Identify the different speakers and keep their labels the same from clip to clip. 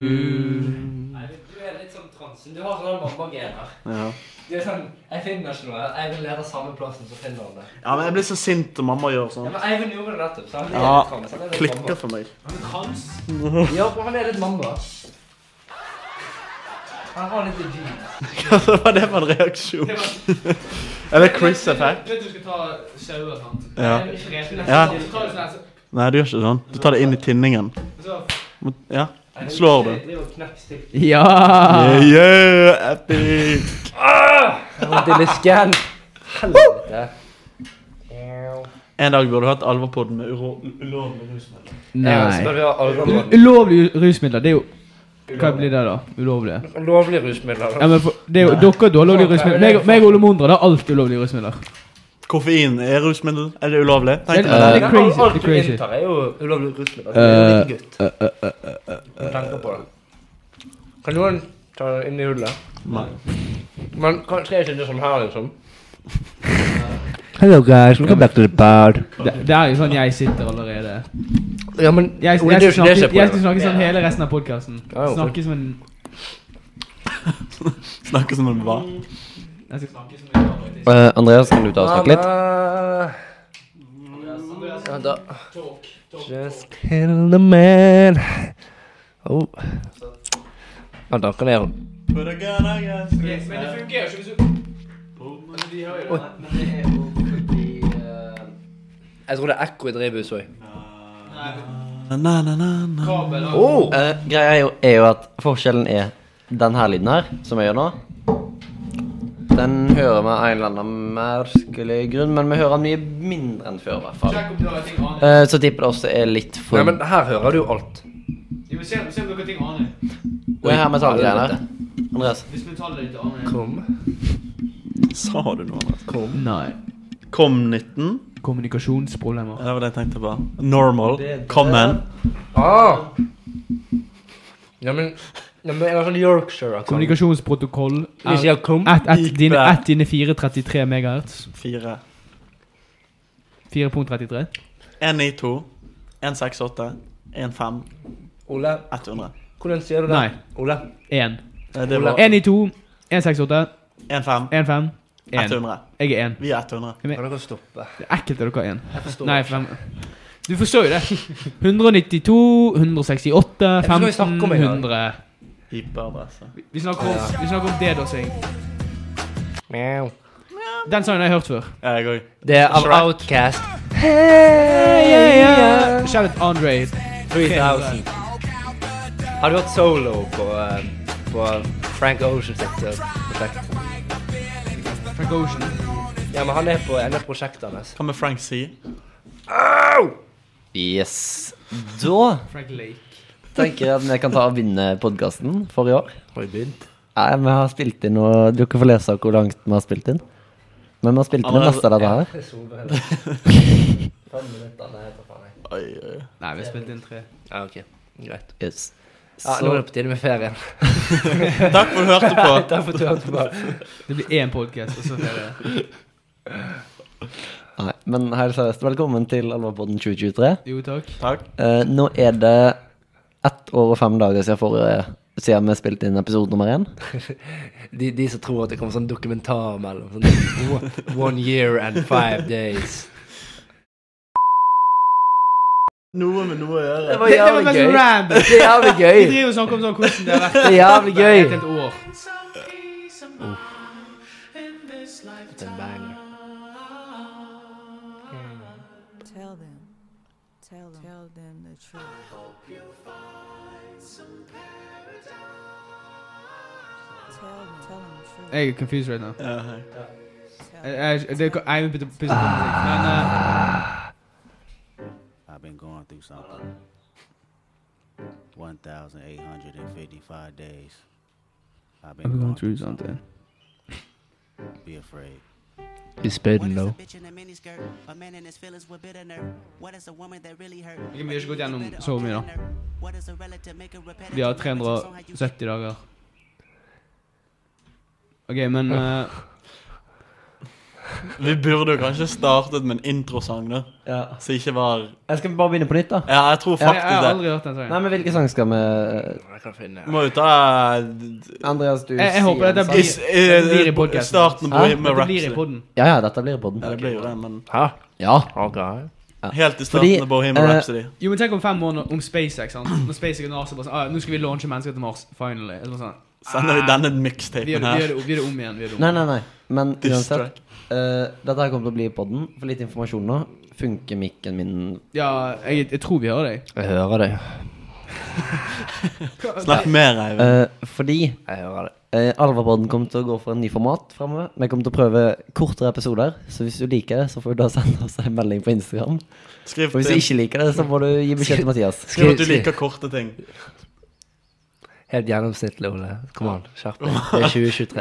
Speaker 1: Mm.
Speaker 2: Nei, Du er litt sånn transen. Du har sånn mamma-gener.
Speaker 1: Ja.
Speaker 2: Du er sånn Jeg finner ikke noe. Eivind leder samme plassen, så finner han det.
Speaker 1: ja, men jeg blir så sint når mamma gjør
Speaker 2: Ja,
Speaker 1: sånn.
Speaker 2: men Eivind gjorde det nettopp. så han er
Speaker 1: Ja,
Speaker 2: litt trans. Han er litt
Speaker 1: Klikker for meg.
Speaker 3: Han er trans.
Speaker 2: mamma. Ja, for han er litt mamma. Han har litt jeans.
Speaker 1: Hva var det for en reaksjon?
Speaker 3: Det var-
Speaker 1: Er det Chris effect?
Speaker 3: Du vet du skal ta sauer, sant?
Speaker 1: Ja.
Speaker 3: Nei, Ikke reker,
Speaker 2: Ja.
Speaker 3: nesten. Så tar du sånn her, så-
Speaker 1: Nei, du gjør ikke sånn. Du tar det inn i tinningen.
Speaker 3: så-
Speaker 1: Må- Ja. Slår du?
Speaker 2: Det er jo knekkstilt.
Speaker 1: Yeah,
Speaker 4: Ja!
Speaker 1: yeah, epic.
Speaker 2: Vondt i lysken. Helvete.
Speaker 1: En dag burde du hatt alvorpodden med uro- ulovlig rusmidler.
Speaker 4: Nei.
Speaker 2: vi har
Speaker 4: U- Ulovlige rusmidler, det er jo Hva blir det, da? Ulovlige?
Speaker 2: Lovlige rusmidler.
Speaker 4: Ja, men for, det er jo, Dere har ulovlige rusmidler. Meg, meg og Olomondra det er alt ulovlige rusmidler.
Speaker 1: Koffein er rusmiddel. Er det ulovlig? Tenk deg
Speaker 4: Det-
Speaker 1: det.
Speaker 4: det er
Speaker 2: Alt
Speaker 4: crazy. Det er
Speaker 2: du
Speaker 4: crazy.
Speaker 2: inntar, er jo ulovlig rusmidler. Du er jo en
Speaker 5: Eh,
Speaker 2: gutt.
Speaker 4: Eh,
Speaker 2: Du tenker på det. Kan noen ta det inn i hullet?
Speaker 1: Nei.
Speaker 2: Men kan- tre ikke det sånn her, liksom?
Speaker 5: Hello guys, welcome back to the pod.
Speaker 4: Det, det er jo sånn jeg sitter allerede.
Speaker 2: Ja, men
Speaker 4: Jeg,
Speaker 2: Jo, det er jo
Speaker 4: jeg, skal,
Speaker 2: ikke det som er
Speaker 4: snakke, jeg skal
Speaker 2: poenget.
Speaker 4: snakke sånn hele resten av podkasten.
Speaker 2: Ja, jo.
Speaker 4: Snakke som en
Speaker 1: Snakker som om det var.
Speaker 4: jeg skal,
Speaker 5: Eh, Andreas, kan du ta og snakke litt?
Speaker 2: Ja, da. Just
Speaker 5: Kill the man.
Speaker 2: oh. Ja, da kan jeg
Speaker 1: But I gotta get
Speaker 3: Men
Speaker 1: this
Speaker 3: det
Speaker 1: man.
Speaker 3: fungerer jo ikke hvis du Altså, de hører jo det.
Speaker 2: Jeg tror det er ekko i drivhuset òg.
Speaker 1: Na, na, na, na.
Speaker 3: Kabel og
Speaker 2: Oh.
Speaker 5: Eh, greia er jo, er jo at forskjellen er den her lyden her, som jeg gjør nå. Den hører vi av en eller annen merkelig grunn, men vi hører den mye mindre enn før, i hvert fall.
Speaker 3: Sjekk om du har ting annet.
Speaker 5: Eh, så tipper det også er litt for
Speaker 2: Nei, men her hører du jo alt.
Speaker 3: Jo, se, se om dere har ting annet.
Speaker 5: Det her metallgreiene her. Andreas.
Speaker 3: Hvis metallet ditt er annet.
Speaker 2: Kom,
Speaker 1: Sa du noe? Andreas?
Speaker 2: kom.
Speaker 4: nei.
Speaker 1: Kom 19.
Speaker 4: Kommunikasjonsproblemer.
Speaker 1: Det var det jeg tenkte på. Normal. Common.
Speaker 2: Ah. Ja, men, ja, men jeg har sånn Yorkshire. Kom. Hvis
Speaker 4: Kommunikasjonsprotokoll
Speaker 2: jeg
Speaker 4: er
Speaker 2: sier kom
Speaker 4: ett ett
Speaker 1: Ikke.
Speaker 4: dine, ett dine 433 megahertz.
Speaker 1: 4.
Speaker 4: 4.33.
Speaker 1: 192. 168. 15.
Speaker 2: Ole,
Speaker 1: 100.
Speaker 2: hvordan sier du det?
Speaker 4: Nei.
Speaker 2: Ole.
Speaker 4: 1.
Speaker 1: Eh, Det var
Speaker 4: 1 i 2. 168.
Speaker 1: 15.
Speaker 4: 15. 1.
Speaker 1: 100.
Speaker 4: Jeg er 1.
Speaker 1: Vi er 100.
Speaker 2: Kan dere stoppe?
Speaker 4: Det er ekkelt at dere har 1.
Speaker 2: Jeg forstår.
Speaker 4: Nei, fem. Du forstår jo det. 192,
Speaker 2: vi
Speaker 4: 168,
Speaker 2: skal jo snakke
Speaker 4: 15,
Speaker 2: om en gang.
Speaker 4: 100
Speaker 1: Hyperadresse.
Speaker 4: Vi- Vi snakker om, vi snakker om DDoS-ing.
Speaker 2: Mjau.
Speaker 4: Den sangen har jeg hørt før.
Speaker 1: Jeg òg.
Speaker 2: Det er av Outcast
Speaker 4: Shout out Andre.
Speaker 2: 3000. Har du vært solo på, eh, på Frank Ocean sitt eh, prosjekt?
Speaker 4: Frank Ocean.
Speaker 2: Ja, men han er på en av prosjektene hans.
Speaker 1: Hva med Frank C?
Speaker 5: Yes. Da
Speaker 4: Frank Lake.
Speaker 5: tenker jeg at vi kan ta og begynne podkasten for i år. Har vi begynt? Nei, vi har spilt inn, og du kan få lese hvor langt vi har spilt inn. Men vi har spilt inn det meste av dette her.
Speaker 2: Fem minutter, nei, for faen. jeg.
Speaker 1: Oi, oi.
Speaker 4: Nei, vi spilte inn tre.
Speaker 2: Ja, ok. Greit.
Speaker 5: Yes.
Speaker 2: Ja, nå
Speaker 5: Så
Speaker 2: er det på tide med ferie.
Speaker 1: Takk for at du hørte på.
Speaker 2: Takk for at du hørte på.
Speaker 4: Det blir én podcast, og så er det
Speaker 5: Nei, men helt seriøst, velkommen til Alvorpodden 2023.
Speaker 4: Jo, takk.
Speaker 1: Takk.
Speaker 5: Eh, nå er det ett år og fem dager siden, forrige, siden vi spilte inn episode nummer én.
Speaker 2: De, de som tror at det kommer sånn dokumentar mellom sånn one- One year and five days.
Speaker 1: Noe med noe å gjøre.
Speaker 2: var
Speaker 4: Det, det var mest random.
Speaker 2: Det er jævlig
Speaker 4: Vi
Speaker 2: gøy.
Speaker 4: driver og snakker om sånn hvordan det har vært
Speaker 2: Det er jævlig gøy.
Speaker 4: et helt år.
Speaker 2: Det er en banger.
Speaker 6: Tell them. Tell them. Tell them the truth. Tell them. Tell them the truth.
Speaker 4: Jeg er confused right now.
Speaker 1: Ja, hei.
Speaker 4: Jeg, jeg, det, jeg vil putte putte på musikk, men eh,
Speaker 7: I've been going through something. 1,855 days. I've been going, through something. Be afraid.
Speaker 2: You spit
Speaker 8: What is
Speaker 2: no.
Speaker 8: a bitch in a miniskirt? A man in his feelings with bitter nerve. What is a woman that really hurt?
Speaker 4: Jeg kan vi ikke gå gjennom så mye, da.
Speaker 8: What is a relative make a repetitive
Speaker 4: vi har
Speaker 8: reference on how you
Speaker 4: 370 dager. OK, men eh,
Speaker 1: Vi burde jo kanskje startet med en introsang, da.
Speaker 5: Ja.
Speaker 1: Så ikke var
Speaker 5: Jeg skal bare begynne på nytt, da.
Speaker 1: Ja, jeg tror
Speaker 5: Ja,
Speaker 4: Jeg har
Speaker 1: faktisk det.
Speaker 4: aldri hørt den
Speaker 5: Nei,
Speaker 4: sangen.
Speaker 5: men hvilken sang skal vi
Speaker 2: Jeg kan finne
Speaker 1: Må jo ta eh,
Speaker 5: Andreas, du
Speaker 4: Jeg- jeg
Speaker 5: sier
Speaker 4: håper
Speaker 5: en
Speaker 4: dette
Speaker 5: sang.
Speaker 4: blir-
Speaker 1: is- eh,
Speaker 4: Det blir i podcasten.
Speaker 1: Starten
Speaker 5: Hæ?
Speaker 1: med liksom.
Speaker 4: Dette blir i
Speaker 1: Rhapsody.
Speaker 4: podden.
Speaker 5: Ja, ja, dette blir podden.
Speaker 1: Ja, det blir jo det, men
Speaker 2: Hæ?
Speaker 5: Ja.
Speaker 2: Ok.
Speaker 1: Helt i
Speaker 5: Fordi,
Speaker 1: starten av Bohemian
Speaker 5: eh,
Speaker 1: Rhapsody.
Speaker 4: Jo, men tenk om fem måneder om SpaceX, sant? Når SpaceX og NASA bare sånn, ah, nå skal vi launche mennesker til Mars, finally. Så bare sånn,
Speaker 1: Sender vi denne
Speaker 4: vi gjør
Speaker 1: mixtapen
Speaker 4: det, vi gjør
Speaker 1: her?
Speaker 4: det, vi gjør det om igjen, vi gjør det om
Speaker 5: Nei, nei, nei. Men
Speaker 1: Diss
Speaker 5: uansett, eh, dette her kommer til å bli i podden. For litt informasjon nå. Funker mikken min
Speaker 4: Ja, jeg, jeg tror vi hører deg.
Speaker 2: Jeg hører deg.
Speaker 1: Snakk mer, Eivind.
Speaker 5: Eh, Fordi
Speaker 2: Jeg hører deg.
Speaker 5: Eh, Alvapodden kommer til å gå for en ny format fremover. Vi kommer til å prøve kortere episoder. Så hvis du liker det, så får du da sende oss en melding på Instagram.
Speaker 4: Eh,
Speaker 1: Skriv
Speaker 5: Og hvis du
Speaker 1: til
Speaker 5: ikke liker det, så må du gi beskjed til Mathias.
Speaker 1: Skriv at du liker korte ting.
Speaker 2: Helt gjennomsnittlig, Ole. Kom an, skjerp deg. Det er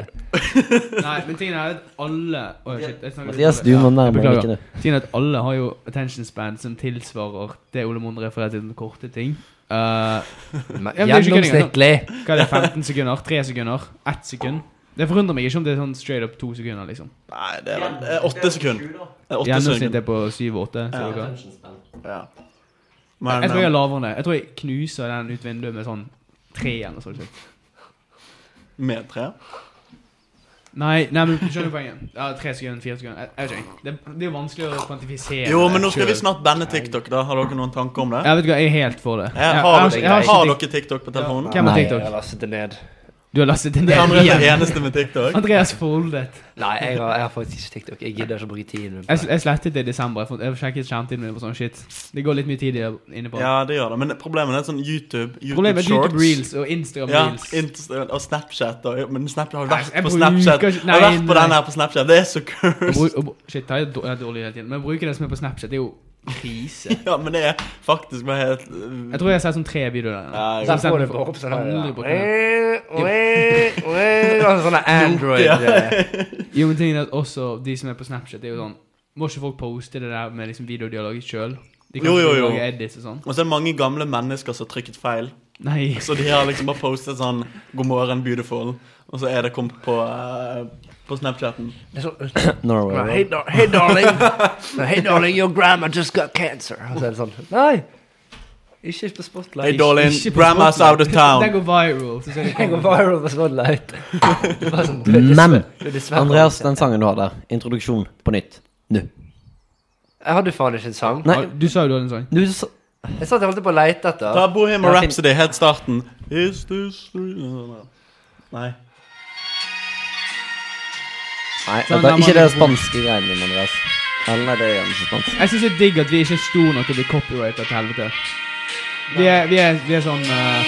Speaker 2: 2023.
Speaker 4: Nei, men tingen er at alle Åh, shit, jeg snakker litt
Speaker 5: Mathias,
Speaker 4: om
Speaker 5: du
Speaker 4: det. Ja,
Speaker 5: må
Speaker 4: jeg
Speaker 5: nærmere
Speaker 4: beklager.
Speaker 5: mikken, du.
Speaker 4: Tingen er at alle har jo attention span som tilsvarer det Ole Monde refererer til den korte ting. Eh,
Speaker 2: Men
Speaker 4: Ja, men det er ikke kødding,
Speaker 2: Gjennomsnittlig.
Speaker 4: hva er det, 15 sekunder? 3 sekunder? 1 sekund? Det forundrer meg ikke om det er sånn straight up 2 sekunder, liksom.
Speaker 1: Nei, det er vel eh, åtte sekunder. Det er Åtte sekunder.
Speaker 4: Gjennomsnittet er på 7-8.
Speaker 1: Ja.
Speaker 4: Ja.
Speaker 1: Ja.
Speaker 4: Jeg
Speaker 1: Men
Speaker 4: tror jeg er
Speaker 1: eh,
Speaker 4: lavere enn det. Jeg tror jeg knuser den ut vinduet med sånn 3 eller sånn.
Speaker 1: med tre?
Speaker 4: Nei, nei, men skjønner du poenget? Ja, 3 sekunder, 4 sekunder. Jeg, jeg vet ikke. Det, det er jo vanskelig å kvantifisere.
Speaker 1: Jo, men nå skal vi
Speaker 4: selv.
Speaker 1: snart banne TikTok, da. Har dere noen tanker om det?
Speaker 4: Jeg vet ikke, jeg er helt for det.
Speaker 1: Jeg
Speaker 4: Jeg-
Speaker 1: har,
Speaker 4: jeg- jeg har
Speaker 1: dere,
Speaker 4: ikke
Speaker 1: har
Speaker 4: tenkt-
Speaker 1: dere TikTok på telefonen?
Speaker 4: Hvem har
Speaker 5: Nei,
Speaker 4: TikTok?
Speaker 2: Jeg lastet det ned.
Speaker 4: Du har lastet den
Speaker 1: Det andre er
Speaker 4: igjen.
Speaker 1: den eneste med TikTok.
Speaker 4: Andreas Foldet.
Speaker 2: Nei, jeg har, jeg har faktisk ikke TikTok. Jeg gidder ikke å bruke tiden min på
Speaker 4: Jeg,
Speaker 2: det.
Speaker 4: jeg slettet det i desember. Jeg, fant- jeg sjekket skjermtiden min på sånn shit. Det går litt mye tid inne på.
Speaker 1: Ja, det gjør det. Men problemet er sånn YouTube, YouTube
Speaker 4: Problemet er YouTube
Speaker 1: Shorts
Speaker 4: Reels og Instagram
Speaker 1: ja,
Speaker 4: Reels.
Speaker 1: Insta- og Snapchat. Og, men Snapchat har jo
Speaker 4: Jeg
Speaker 1: vært på
Speaker 4: bruker
Speaker 1: Snapchat.
Speaker 4: ikke-
Speaker 1: Jeg har
Speaker 4: nei,
Speaker 1: vært på
Speaker 4: nei.
Speaker 1: den her på Snapchat. Det er så
Speaker 4: Og
Speaker 1: cursed.
Speaker 4: bru- og bru- shit, jeg er dår- jeg er dårlig hele tiden. Men å bruke det som er på Snapchat, det er jo krise.
Speaker 1: Ja, men det er faktisk bare helt
Speaker 4: Jeg tror jeg har sett sånn tre videoer der.
Speaker 1: Ja, jeg-
Speaker 4: Så jeg
Speaker 2: får det
Speaker 4: sender-
Speaker 2: bare opp sånn her.
Speaker 4: aldri bruker det.
Speaker 2: ja. Sånn Android eh.
Speaker 4: Jo, men tingen er at også de som er på Snapchat, det er jo sånn Må ikke folk poste det der med liksom videoer de har laget sjøl? De kan
Speaker 1: Jo, jo,
Speaker 4: ikke
Speaker 1: jo.
Speaker 4: lage edits og sånn.
Speaker 1: Og så er det mange gamle mennesker som har trykket feil.
Speaker 4: Nei.
Speaker 1: Så de har liksom bare postet sånn 'God morgen, beautiful', og så er det kommet på, eh, på Snapchatten.
Speaker 2: Det er sånn Hey,
Speaker 5: Norway.
Speaker 2: dar hey darling. hey darling, your grandma just got cancer. Og så er det sånn Nei! Ikke på spotlight.
Speaker 1: Hey, darling,
Speaker 4: Ikke på
Speaker 1: grandma's out of
Speaker 4: Den
Speaker 1: town.
Speaker 4: går viral. Så ser de
Speaker 2: Jeg går viral på spotlight. Det var sånn, du er dessverre-
Speaker 5: Men
Speaker 2: du er dessverre-
Speaker 5: Andreas, den sangen du har der, introduksjon på nytt. Nå.
Speaker 2: Jeg hadde faen ikke en sang.
Speaker 5: Nei,
Speaker 4: Du sa jo du hadde en sånn. sang.
Speaker 5: du sa
Speaker 2: Jeg satt og holdt på å leite etter.
Speaker 1: Ta Bohemian
Speaker 5: Ja, fin-
Speaker 1: Rhapsody helt starten. Is this the- Nei.
Speaker 5: Nei,
Speaker 4: Sånn,
Speaker 5: dette
Speaker 4: da
Speaker 5: er
Speaker 4: må
Speaker 5: ikke det
Speaker 4: vi-
Speaker 5: spanske greiene dine, Andreas. Eller nei, det er jo ikke spansk.
Speaker 4: Jeg syns det er digg at vi ikke er store nok til å bli copyrightet til helvete. Vi er, vi er, vi er sånn eh,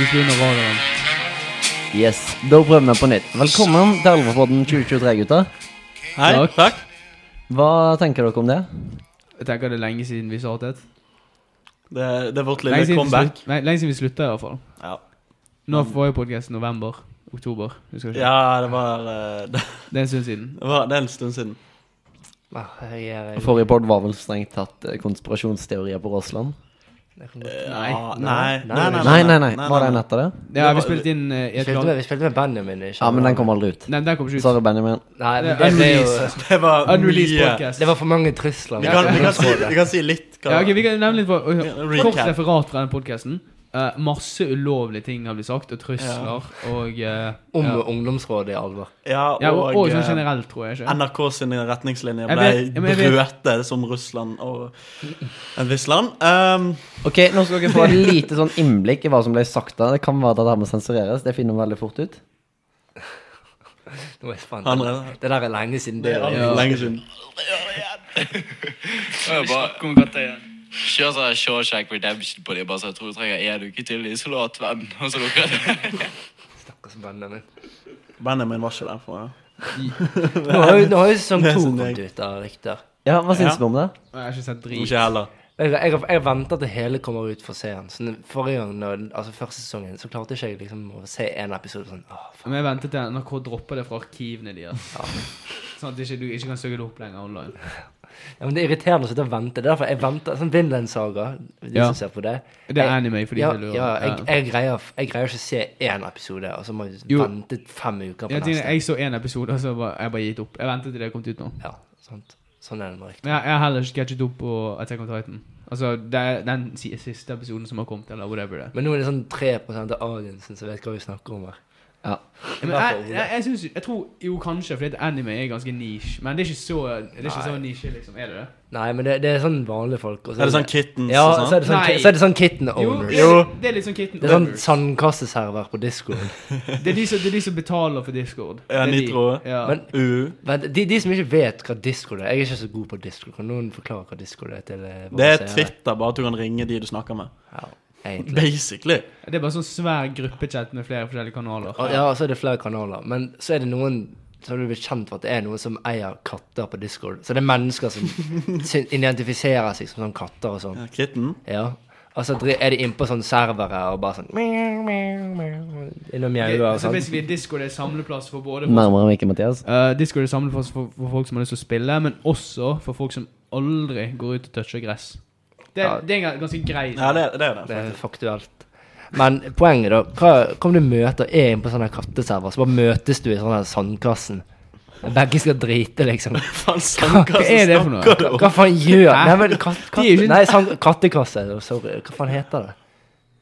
Speaker 4: Vi begynner radioen.
Speaker 5: Yes, da prøver vi på nytt. Velkommen til Alvapodden 2023, gutter.
Speaker 1: Hei,
Speaker 4: Takk.
Speaker 1: takk.
Speaker 5: Hva tenker dere om det?
Speaker 4: Jeg tenker det er lenge siden vi startet.
Speaker 1: Det, det er vårt
Speaker 4: Lenge
Speaker 1: lille
Speaker 4: siden, vi
Speaker 1: comeback.
Speaker 4: slutt- nei, lenge siden vi slutta, i hvert fall.
Speaker 1: Ja.
Speaker 4: Nå var jo podkasten november. Oktober. Husker du ikke?
Speaker 1: Ja, det var, eh, det
Speaker 4: Det er en stund siden.
Speaker 1: var Det er en stund siden.
Speaker 2: Ah, jeg er-
Speaker 5: Forrige pod var vel strengt tatt eh, konspirasjonsteorier på Rossland?
Speaker 2: jeg kan godt-
Speaker 1: Ja, nei, nei, nei,
Speaker 5: Nei, nei, nei. Var det en etter det?
Speaker 4: Ja,
Speaker 1: Det
Speaker 4: vi
Speaker 1: var-
Speaker 4: spilte inn eh, i
Speaker 2: Vi
Speaker 4: et
Speaker 2: spilte
Speaker 4: land
Speaker 2: med, vi spilte med Benjamin. Ikke?
Speaker 5: Ja, men den kom aldri ut.
Speaker 4: Nei, den kom ikke ut.
Speaker 5: Sorry, Benjamin.
Speaker 2: Nei,
Speaker 4: Det
Speaker 2: men
Speaker 4: er
Speaker 2: det, det, er jo,
Speaker 4: unreleased.
Speaker 1: Det var
Speaker 4: Unreleased
Speaker 1: mye.
Speaker 4: podcast.
Speaker 2: det var for mange trusler.
Speaker 1: Vi kan, vi, kan si,
Speaker 2: det.
Speaker 1: vi kan si litt hva
Speaker 4: Ja, ok, Vi kan nevne litt på, og-
Speaker 1: Recap.
Speaker 4: kort referat fra den podkasten. masse ulovlige ting har blitt sagt, og trusler og eh,
Speaker 2: Om
Speaker 4: ja.
Speaker 2: ungdomsrådet i alvor.
Speaker 1: Ja,
Speaker 4: Ja, og, og sånn
Speaker 1: eh,
Speaker 4: generelt, tror jeg. ikke
Speaker 1: NRK sine retningslinjer
Speaker 4: Jeg
Speaker 1: ble
Speaker 4: vet- jeg vet-
Speaker 1: brøte som Russland og et visst land. Ehm,
Speaker 5: Ok, nå skal dere få et lite sånn innblikk i hva som ble sagt da. Det kan være at det her må sensureres. Det finner vi veldig fort ut.
Speaker 2: Nå er jeg spent.
Speaker 1: Han er-
Speaker 2: Det der er lenge siden det.
Speaker 1: det er lenge siden.
Speaker 9: Jeg bare kjør sånn Shawshank Redemption på dem. Bare så jeg tror du trenger en uke til i isolat, venn. Og så lukker jeg det.
Speaker 2: Stakkars Benjamin.
Speaker 1: Benjamin var ikke der for
Speaker 2: Nå har jo, nå har jo sesong
Speaker 1: Det er
Speaker 2: to
Speaker 1: sånn
Speaker 2: kommet
Speaker 1: jeg-
Speaker 2: ut av Rykter.
Speaker 5: Ja, hva syns
Speaker 1: Ja.
Speaker 5: du om det?
Speaker 4: Jeg har ikke sett drit.
Speaker 1: Ikke heller.
Speaker 2: Jeg, jeg, jeg har venta til hele kommer ut for å se den. Sånn, forrige gang, når, altså første sesongen, så klarte ikke jeg liksom å se en episode sånn åh, faen.
Speaker 4: Vi venter til NRK dropper det fra arkivene deres. Sånn at ikke, du ikke kan søke det opp lenger online.
Speaker 2: Ja, men Det er irriterende å sitte og vente. Det er derfor jeg venter. Sånn Vinland-saga, de
Speaker 4: Ja.
Speaker 2: som ser på det.
Speaker 4: Det er
Speaker 2: Jeg-
Speaker 4: anime for de
Speaker 2: ja,
Speaker 4: som lurer.
Speaker 2: ja, jeg, jeg, greier, jeg greier ikke å se én episode, og så må jeg
Speaker 4: Jo.
Speaker 2: vente fem uker på
Speaker 4: Ja, Tine,
Speaker 2: neste.
Speaker 4: jeg så én episode, og så var jeg bare gitt opp. Jeg ventet til det kom ut nå.
Speaker 2: Ja, sant. Sånn er det med riktig.
Speaker 4: Men jeg, jeg har heller ikke catchet opp på Attack on Titan. Altså, det er den si- siste episoden som har kommet, eller whatever det er.
Speaker 2: Men nå er det sånn 3 av audiencen som vet hva vi snakker om her.
Speaker 5: Ja.
Speaker 4: Men
Speaker 2: Bare
Speaker 4: jeg,
Speaker 2: for Ole.
Speaker 4: jeg, jeg, synes, jeg tror jo kanskje, fordi at anime er ganske niche, men det er ikke så, det er ikke så niche, liksom. Er det det?
Speaker 2: Nei, men det, det er sånn vanlige folk. og så
Speaker 1: Er det sånn kittens
Speaker 2: Ja,
Speaker 1: og
Speaker 2: så
Speaker 1: sånn?
Speaker 2: er det sånn,
Speaker 4: Nei.
Speaker 2: ki- så er det sånn kitten
Speaker 4: Jo,
Speaker 2: owners.
Speaker 4: det er, det er litt sånn Kitten
Speaker 2: Det er sånn
Speaker 4: Overs.
Speaker 2: sandkasseserver på discoen.
Speaker 4: Det er de som, det er de som betaler for Discord.
Speaker 1: Ja,
Speaker 4: Det er de.
Speaker 1: Nitro.
Speaker 4: Ja.
Speaker 2: Men
Speaker 1: Uh.
Speaker 2: Vent, de, de som ikke vet hva disco er Jeg er ikke så god på disco. Kan noen forklare hva disco er til eh, våre
Speaker 1: Det er
Speaker 2: seere?
Speaker 1: Twitter, bare at du kan ringe de du snakker med.
Speaker 2: Ja, egentlig.
Speaker 1: Basically.
Speaker 4: Det er bare sånn svær gruppechat med flere forskjellige kanaler.
Speaker 2: Og, ja, så er det flere kanaler. Men så er det noen så har du blitt kjent for at det er noen som eier katter på Discord. Så det er mennesker som syn- identifiserer seg som sånn katter og sånn.
Speaker 1: Ja, Kitten.
Speaker 2: Ja. Og så dri- er de innpå sånne servere og bare sånn miau, miau, miau, Inn og mjauer og
Speaker 4: så
Speaker 2: sånn.
Speaker 4: basically Discord er samleplass for både folk,
Speaker 5: Nærmere mikken, Mathias.
Speaker 4: Eh, Discord er samleplass for, for folk som har lyst til å spille, men også for folk som aldri går ut og toucher gress. Det,
Speaker 2: Ja.
Speaker 4: det er en ganske grei
Speaker 1: Ja, det, det er
Speaker 2: Det
Speaker 1: det.
Speaker 2: er faktuelt. Men poenget, da. Hva kommer du møter er inne på sånne katteserver, så bare møtes du i sånn her sandkassen. Begge skal drite, liksom.
Speaker 1: Faen, sånn. sandkassen
Speaker 4: Hva er det for noe?
Speaker 1: snakker du om?
Speaker 2: Hva faen gjør
Speaker 4: Hæ?
Speaker 2: Nei, men kat, kat,
Speaker 4: De er jo ikke-
Speaker 2: nei sand, kattekasse. Sorry. Hva faen heter det?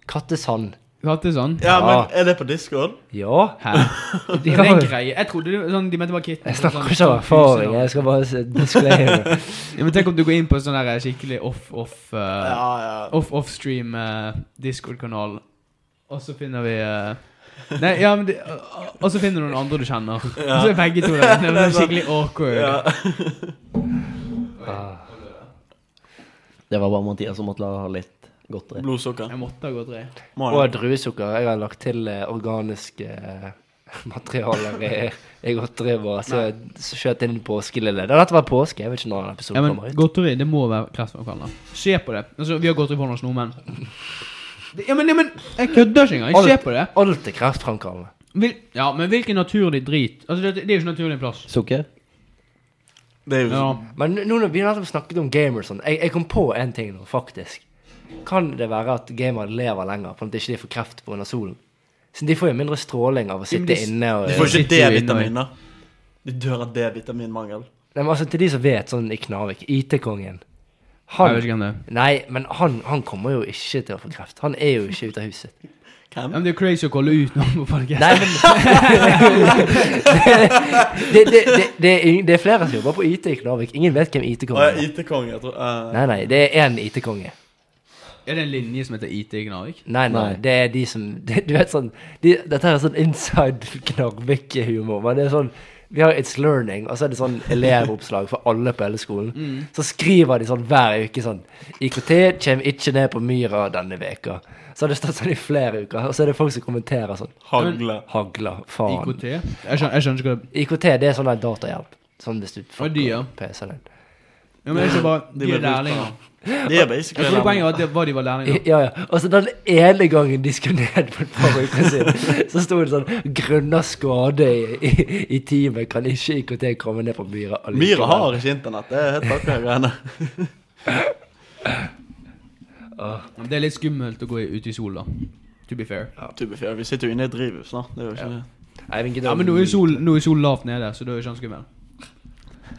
Speaker 2: Kattesand.
Speaker 4: Hatt det sånn?
Speaker 1: Ja, men er det på Discord?
Speaker 2: Ja.
Speaker 4: Hæ? Det er en greie. Jeg trodde det, sånn, de mente bare kitten.
Speaker 2: Jeg snakker
Speaker 4: sånn-
Speaker 2: ikke av
Speaker 4: sånn
Speaker 2: erfaring.
Speaker 4: husenavn.
Speaker 2: Jeg skal bare se- disclaimer.
Speaker 4: Ja, men tenk om du går inn på sånn der skikkelig eh, off-off
Speaker 1: Ja, ja.
Speaker 4: Off-off-stream eh, Discord-kanal Og så finner vi eh, Nei, ja, men det, Og så finner du noen andre du kjenner Og så er begge to der Det er skikkelig awkward
Speaker 1: ja.
Speaker 2: Ah.
Speaker 5: Det var bare Mathias som måtte la ha litt godt dritt.
Speaker 1: Blodsukker.
Speaker 4: Jeg måtte ha gått tre
Speaker 1: Må
Speaker 2: Og
Speaker 1: det.
Speaker 2: druesukker. Jeg har lagt til eh, organiske eh, materialer i, i godteriet. Så så skjøt inn påskelille. Det har vært påske. Jeg vet ikke når den
Speaker 4: Ja,
Speaker 2: episoden
Speaker 4: men
Speaker 2: kommer ut.
Speaker 4: godteri, det må være kreftframkallende Se på det Altså, vi har godteri på oss nå, men Det- Ja, men, ja, men Jeg kødder ikke engang Jeg ser på det
Speaker 2: Alt er kreftframkallende.
Speaker 4: Vil, Ja, men hvilken naturlig drit Altså, det, det er jo ikke naturlig plass
Speaker 5: Sukker?
Speaker 1: det er jo
Speaker 4: Ja
Speaker 2: Men nå når vi nettopp snakket om gamers sånn, jeg, jeg kom på en ting nå, faktisk. Kan det være at gamere lever lenger fordi ikke de får kreft pga. solen? Så de får jo mindre stråling av å
Speaker 4: Ja,
Speaker 2: sitte
Speaker 4: men de-
Speaker 2: inne og
Speaker 1: De får ikke
Speaker 4: sitter jo
Speaker 1: D-vitaminer. De dør av D-vitaminmangel.
Speaker 2: Nei, men altså, Til de som vet, sånn i Knarvik, IT-kongen
Speaker 4: Jeg vet
Speaker 2: Han
Speaker 4: ikke hvem det er
Speaker 2: Nei, men han, han kommer jo ikke til å få kreft. Han er jo ikke ute av huset.
Speaker 4: Ja,
Speaker 1: Hvem?
Speaker 4: men det er crazy å kolle ut noen på podcast
Speaker 2: Nei, men det, det, det, det, er ing- det er flere som jobber på IT i Knarvik. Ingen vet hvem
Speaker 1: Å,
Speaker 2: IT-kongen er.
Speaker 1: IT-konge, jeg tror eh,
Speaker 2: Nei, nei, det er én IT-konge.
Speaker 4: Er det en linje som heter IT i Gnarvik?
Speaker 2: Nei, nei,
Speaker 5: Nei.
Speaker 2: det er de som det, Du vet sånn de, Dette her er sånn inside Knarvik-humor. Men det er sånn Vi har It's Learning, og så er det sånn elevoppslag for alle på hele skolen. Så skriver de sånn hver uke sånn IKT kommer ikke ned på myra denne veka. Så har det stått sånn i flere uker, og så er det folk som kommenterer sånn
Speaker 1: Hagle.
Speaker 2: Hagla, faen.
Speaker 4: IKT? Jeg skjønner, jeg skjønner ikke hva det
Speaker 2: IKT, det er sånn der datahjelp. Sånn hvis du
Speaker 4: Og de, ja.
Speaker 2: fucker PC-en din.
Speaker 4: ja, men jeg skjønner bare,
Speaker 1: De
Speaker 4: De
Speaker 1: ble
Speaker 4: er lærlinger.
Speaker 1: Det er
Speaker 4: Jeg tror
Speaker 1: basically
Speaker 4: poenget var at det var de var lærlinger.
Speaker 2: Ja, ja. Og så den ene gangen de skulle ned på et par uker siden, så sto det sånn 'Grunna skade i, i, i teamet kan ikke IKT komme ned på Myra'. allikevel».
Speaker 1: Myra har ikke internett. Det er helt takka greiene.
Speaker 4: Det er litt skummelt å gå ute i sol, da. To be fair.
Speaker 1: To be fair, Vi sitter jo inne i et drivhus nå. Det er jo ikke det.
Speaker 2: Nei, men,
Speaker 4: Ja, Men nå er jo sol, nå er sol lavt nede, så da er jo ikke han skummel.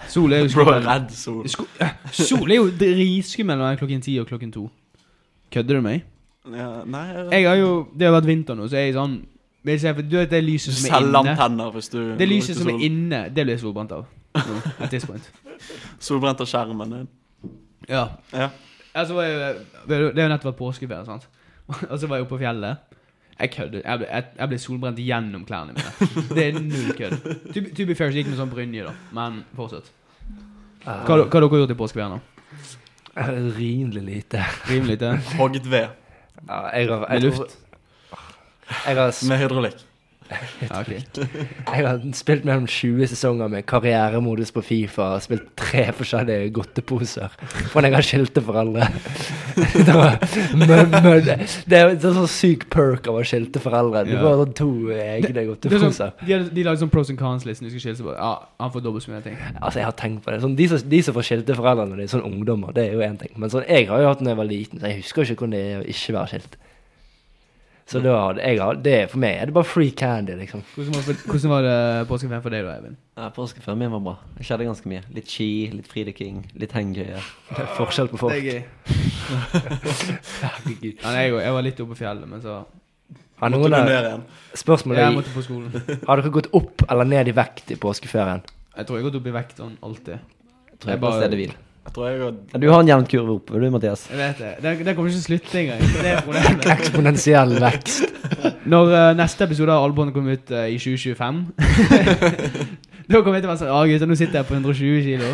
Speaker 4: Sol er jo
Speaker 1: Bro, er
Speaker 4: skummel.
Speaker 1: redd sol.
Speaker 4: Sko sol er jo dritskummel når det er klokken ti og klokken to. Kødder du med meg?
Speaker 1: Ja, nei, jeg-
Speaker 4: Jeg har jo, Det har vært vinter nå, så jeg er sånn vil jeg si, for Du vet det lyset som er
Speaker 1: Selv
Speaker 4: inne?
Speaker 1: antenner hvis du
Speaker 4: Det lyset som er inne, det blir jeg solbrent av. Nå, at this point.
Speaker 1: Solbrent av skjermen din.
Speaker 4: Ja.
Speaker 1: Ja.
Speaker 4: Altså, var jeg, det har jo nettopp vært påskeferie, sant? Og så var jeg oppe på fjellet. Jeg kødder. Jeg ble, jeg, jeg ble solbrent gjennom klærne mine. Det er null kødd. To, be- to be fair, så gikk det med sånn brynje, da. Men fortsett. Hva,
Speaker 2: Ah,
Speaker 4: hva har dere gjort i påskeferien? da?
Speaker 2: Rimelig lite.
Speaker 4: Rimelig lite?
Speaker 1: Hogget ved
Speaker 2: Ja, jeg har, jeg
Speaker 4: Med
Speaker 2: tror-
Speaker 4: luft?
Speaker 2: Jeg har, sp-
Speaker 1: med hydraulikk.
Speaker 4: Ja, ok.
Speaker 2: Jeg har spilt mellom 20 sesonger med karrieremodus på Fifa og spilt tre forskjellige godteposer fordi jeg har skilte foreldre. Det var- men, men, det er en sånn syk perk av å ha skilte foreldre. Du
Speaker 4: Ja.
Speaker 2: får sånn to egne
Speaker 4: Det er
Speaker 2: godteposer.
Speaker 4: sånn, de, de lager sånn pros and cons-listen. Du skal skille seg på. Ja, han får dobbelt så mye ting.
Speaker 2: Altså, jeg har tenkt på det. Sånn, de, som, de som får skilte foreldre når de er sånn ungdommer, det er jo én ting. Men sånn, jeg har jo hatt den da jeg var liten, så jeg husker jo ikke hvordan det er å ikke være skilt. Så
Speaker 4: Mm.
Speaker 2: da, hadde jeg, har- det, for meg er det bare free candy, liksom.
Speaker 4: Hvordan var, hvordan var det påskeferien for deg, da, Eivind?
Speaker 5: Ja, Påskeferien min var bra. Det skjedde ganske mye. Litt ski, litt fridyking, litt hengøye.
Speaker 2: Det er forskjell på folk.
Speaker 4: gøy.
Speaker 2: Herregud.
Speaker 4: Ja, nei, jeg, jeg var litt oppe på fjellet, men så
Speaker 2: Har
Speaker 1: Måtte
Speaker 2: noen
Speaker 1: du
Speaker 2: av
Speaker 1: ned igjen?
Speaker 2: spørsmål
Speaker 4: Jeg
Speaker 2: er,
Speaker 4: måtte på skolen.
Speaker 2: Har dere gått opp eller ned i vekt i påskeferien?
Speaker 4: Jeg tror jeg har gått opp i vekt sånn alltid.
Speaker 5: Jeg
Speaker 4: Jeg
Speaker 5: tror jeg
Speaker 4: bare-
Speaker 5: bare stedet hvil.
Speaker 1: Jeg tror jeg går
Speaker 5: Ja, Du har en jevn kurve oppe, du, Mathias.
Speaker 4: Jeg vet det. Det, det kommer ikke til å slutte engang. Det er problemet.
Speaker 2: Eksponentiell vekst.
Speaker 4: Når eh, neste episode av Albåndet kommer ut eh, i 2025 Da kommer jeg til å være sånn Å, gutter, nå sitter jeg på 120 kilo.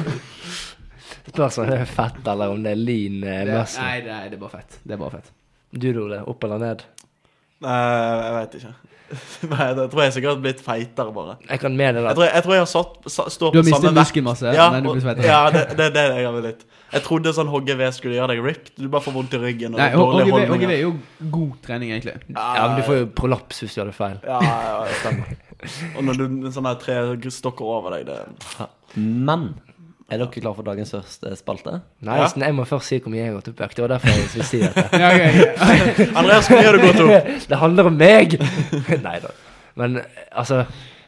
Speaker 2: Spørsmålet er fett eller om det er lean eh,
Speaker 4: Det, nei,
Speaker 2: muscle.
Speaker 4: nei, det er bare fett. Det er bare fett.
Speaker 2: Du, Ole, opp eller ned?
Speaker 1: Nei, jeg veit ikke. Nei, da tror jeg sikkert har blitt feitere, bare.
Speaker 2: Jeg kan meddele
Speaker 1: Jeg
Speaker 2: at
Speaker 1: tror jeg, jeg, tror jeg har satt, sa, står
Speaker 4: Du har
Speaker 1: på
Speaker 4: mistet
Speaker 1: samme vekt.
Speaker 4: muskelmasse,
Speaker 1: Ja,
Speaker 4: men du blir
Speaker 1: og-
Speaker 4: svett.
Speaker 1: ja det, det er det jeg har vel litt. Jeg trodde sånn HGV skulle gjøre deg ripped. Du bare får vondt i ryggen. Og
Speaker 4: Nei,
Speaker 1: dårlige
Speaker 4: HGV HGV
Speaker 1: holdninger.
Speaker 4: er jo god trening, egentlig.
Speaker 2: Ja, men du får jo prolaps hvis du hadde feil.
Speaker 1: Ja, ja, ja, stemmer. Og når du med sånne her tre stokker over deg, det
Speaker 5: Men er dere klare for dagens første spalte?
Speaker 2: Nei,
Speaker 1: Ja.
Speaker 2: sånn, jeg må først si hvor mye jeg har gått opp i vekt. Det var derfor jeg ville si dette.
Speaker 4: Ja, ok.
Speaker 1: Andreas, hvor mye har du gått opp?
Speaker 2: det handler om meg! Nei da. Men altså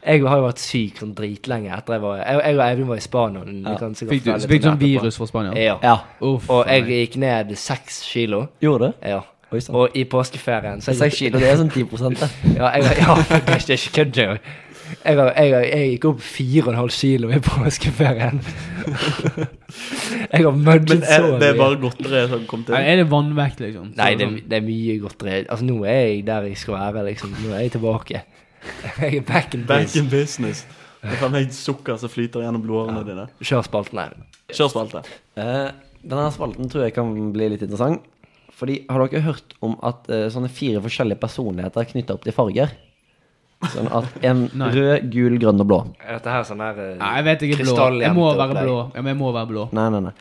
Speaker 2: Jeg har jo vært syk sånn dritlenge etter jeg var Jeg, jeg og Eivind var i Spania. og vi kan sikkert
Speaker 4: Fikk du,
Speaker 2: fortelle
Speaker 4: fikk
Speaker 2: litt om
Speaker 4: du sånn
Speaker 2: det etterpå.
Speaker 4: virus fra Spania?
Speaker 2: Ja.
Speaker 5: Ja.
Speaker 4: Uff,
Speaker 2: Og
Speaker 4: faen,
Speaker 2: jeg gikk ned seks kilo.
Speaker 5: Gjorde du?
Speaker 2: Ja.
Speaker 5: Oi sann.
Speaker 2: Og i påskeferien så
Speaker 5: Seks kilo, det er sånn 10 det.
Speaker 2: Ja, jeg, ja faktisk, det er ikke kødd engang. Jeg, har- jeg, har- jeg gikk opp fire og en halv kilo i påskeferien. jeg har
Speaker 1: Men
Speaker 2: mudget
Speaker 5: eh,
Speaker 1: er,
Speaker 2: så mye.
Speaker 1: det er bare godteri som kom til.
Speaker 4: Nei, Er det vannvekt, liksom? Så
Speaker 2: Nei, det,
Speaker 4: sånn-
Speaker 2: det er mye godteri. Altså, nå er jeg der jeg skal være, liksom. Nå er jeg tilbake. Jeg er back in
Speaker 1: Back
Speaker 2: business.
Speaker 1: in business. Det er faen meg sukker som flyter gjennom blodårene dine.
Speaker 2: Kjør spalten her.
Speaker 1: Kjør spalte.
Speaker 5: Eh, denne spalten tror jeg kan bli litt interessant. Fordi, har dere hørt om at eh, sånne fire forskjellige personligheter er knytta opp til farger? Sånn at en
Speaker 4: Nei.
Speaker 5: rød, gul, grønn og blå.
Speaker 2: Er dette her sånn her eh,
Speaker 4: Nei, jeg vet jeg er blå. Jeg må være
Speaker 2: krystalljente
Speaker 4: blå.
Speaker 2: opplegg?
Speaker 4: Ja, men jeg må være blå.
Speaker 5: Nei, nei, nei.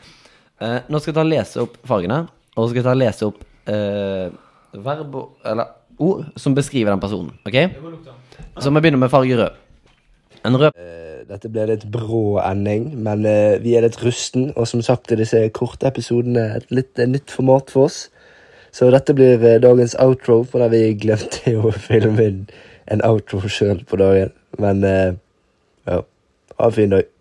Speaker 5: Eh, nå skal jeg ta og lese opp fargene, og så skal jeg ta og lese opp eh, verb og- eller ord som beskriver den personen. ok? Så vi begynner med farge rød. En rød
Speaker 10: Dette ble litt brå ending, men eh, vi er litt rusten, og som sagt er disse korte episodene et litt eh, nytt format for oss. Så dette blir eh, dagens outro, for der vi glemte jo å filme inn en outro sjøl på dagen. Men eh, ja, ha en fin dag.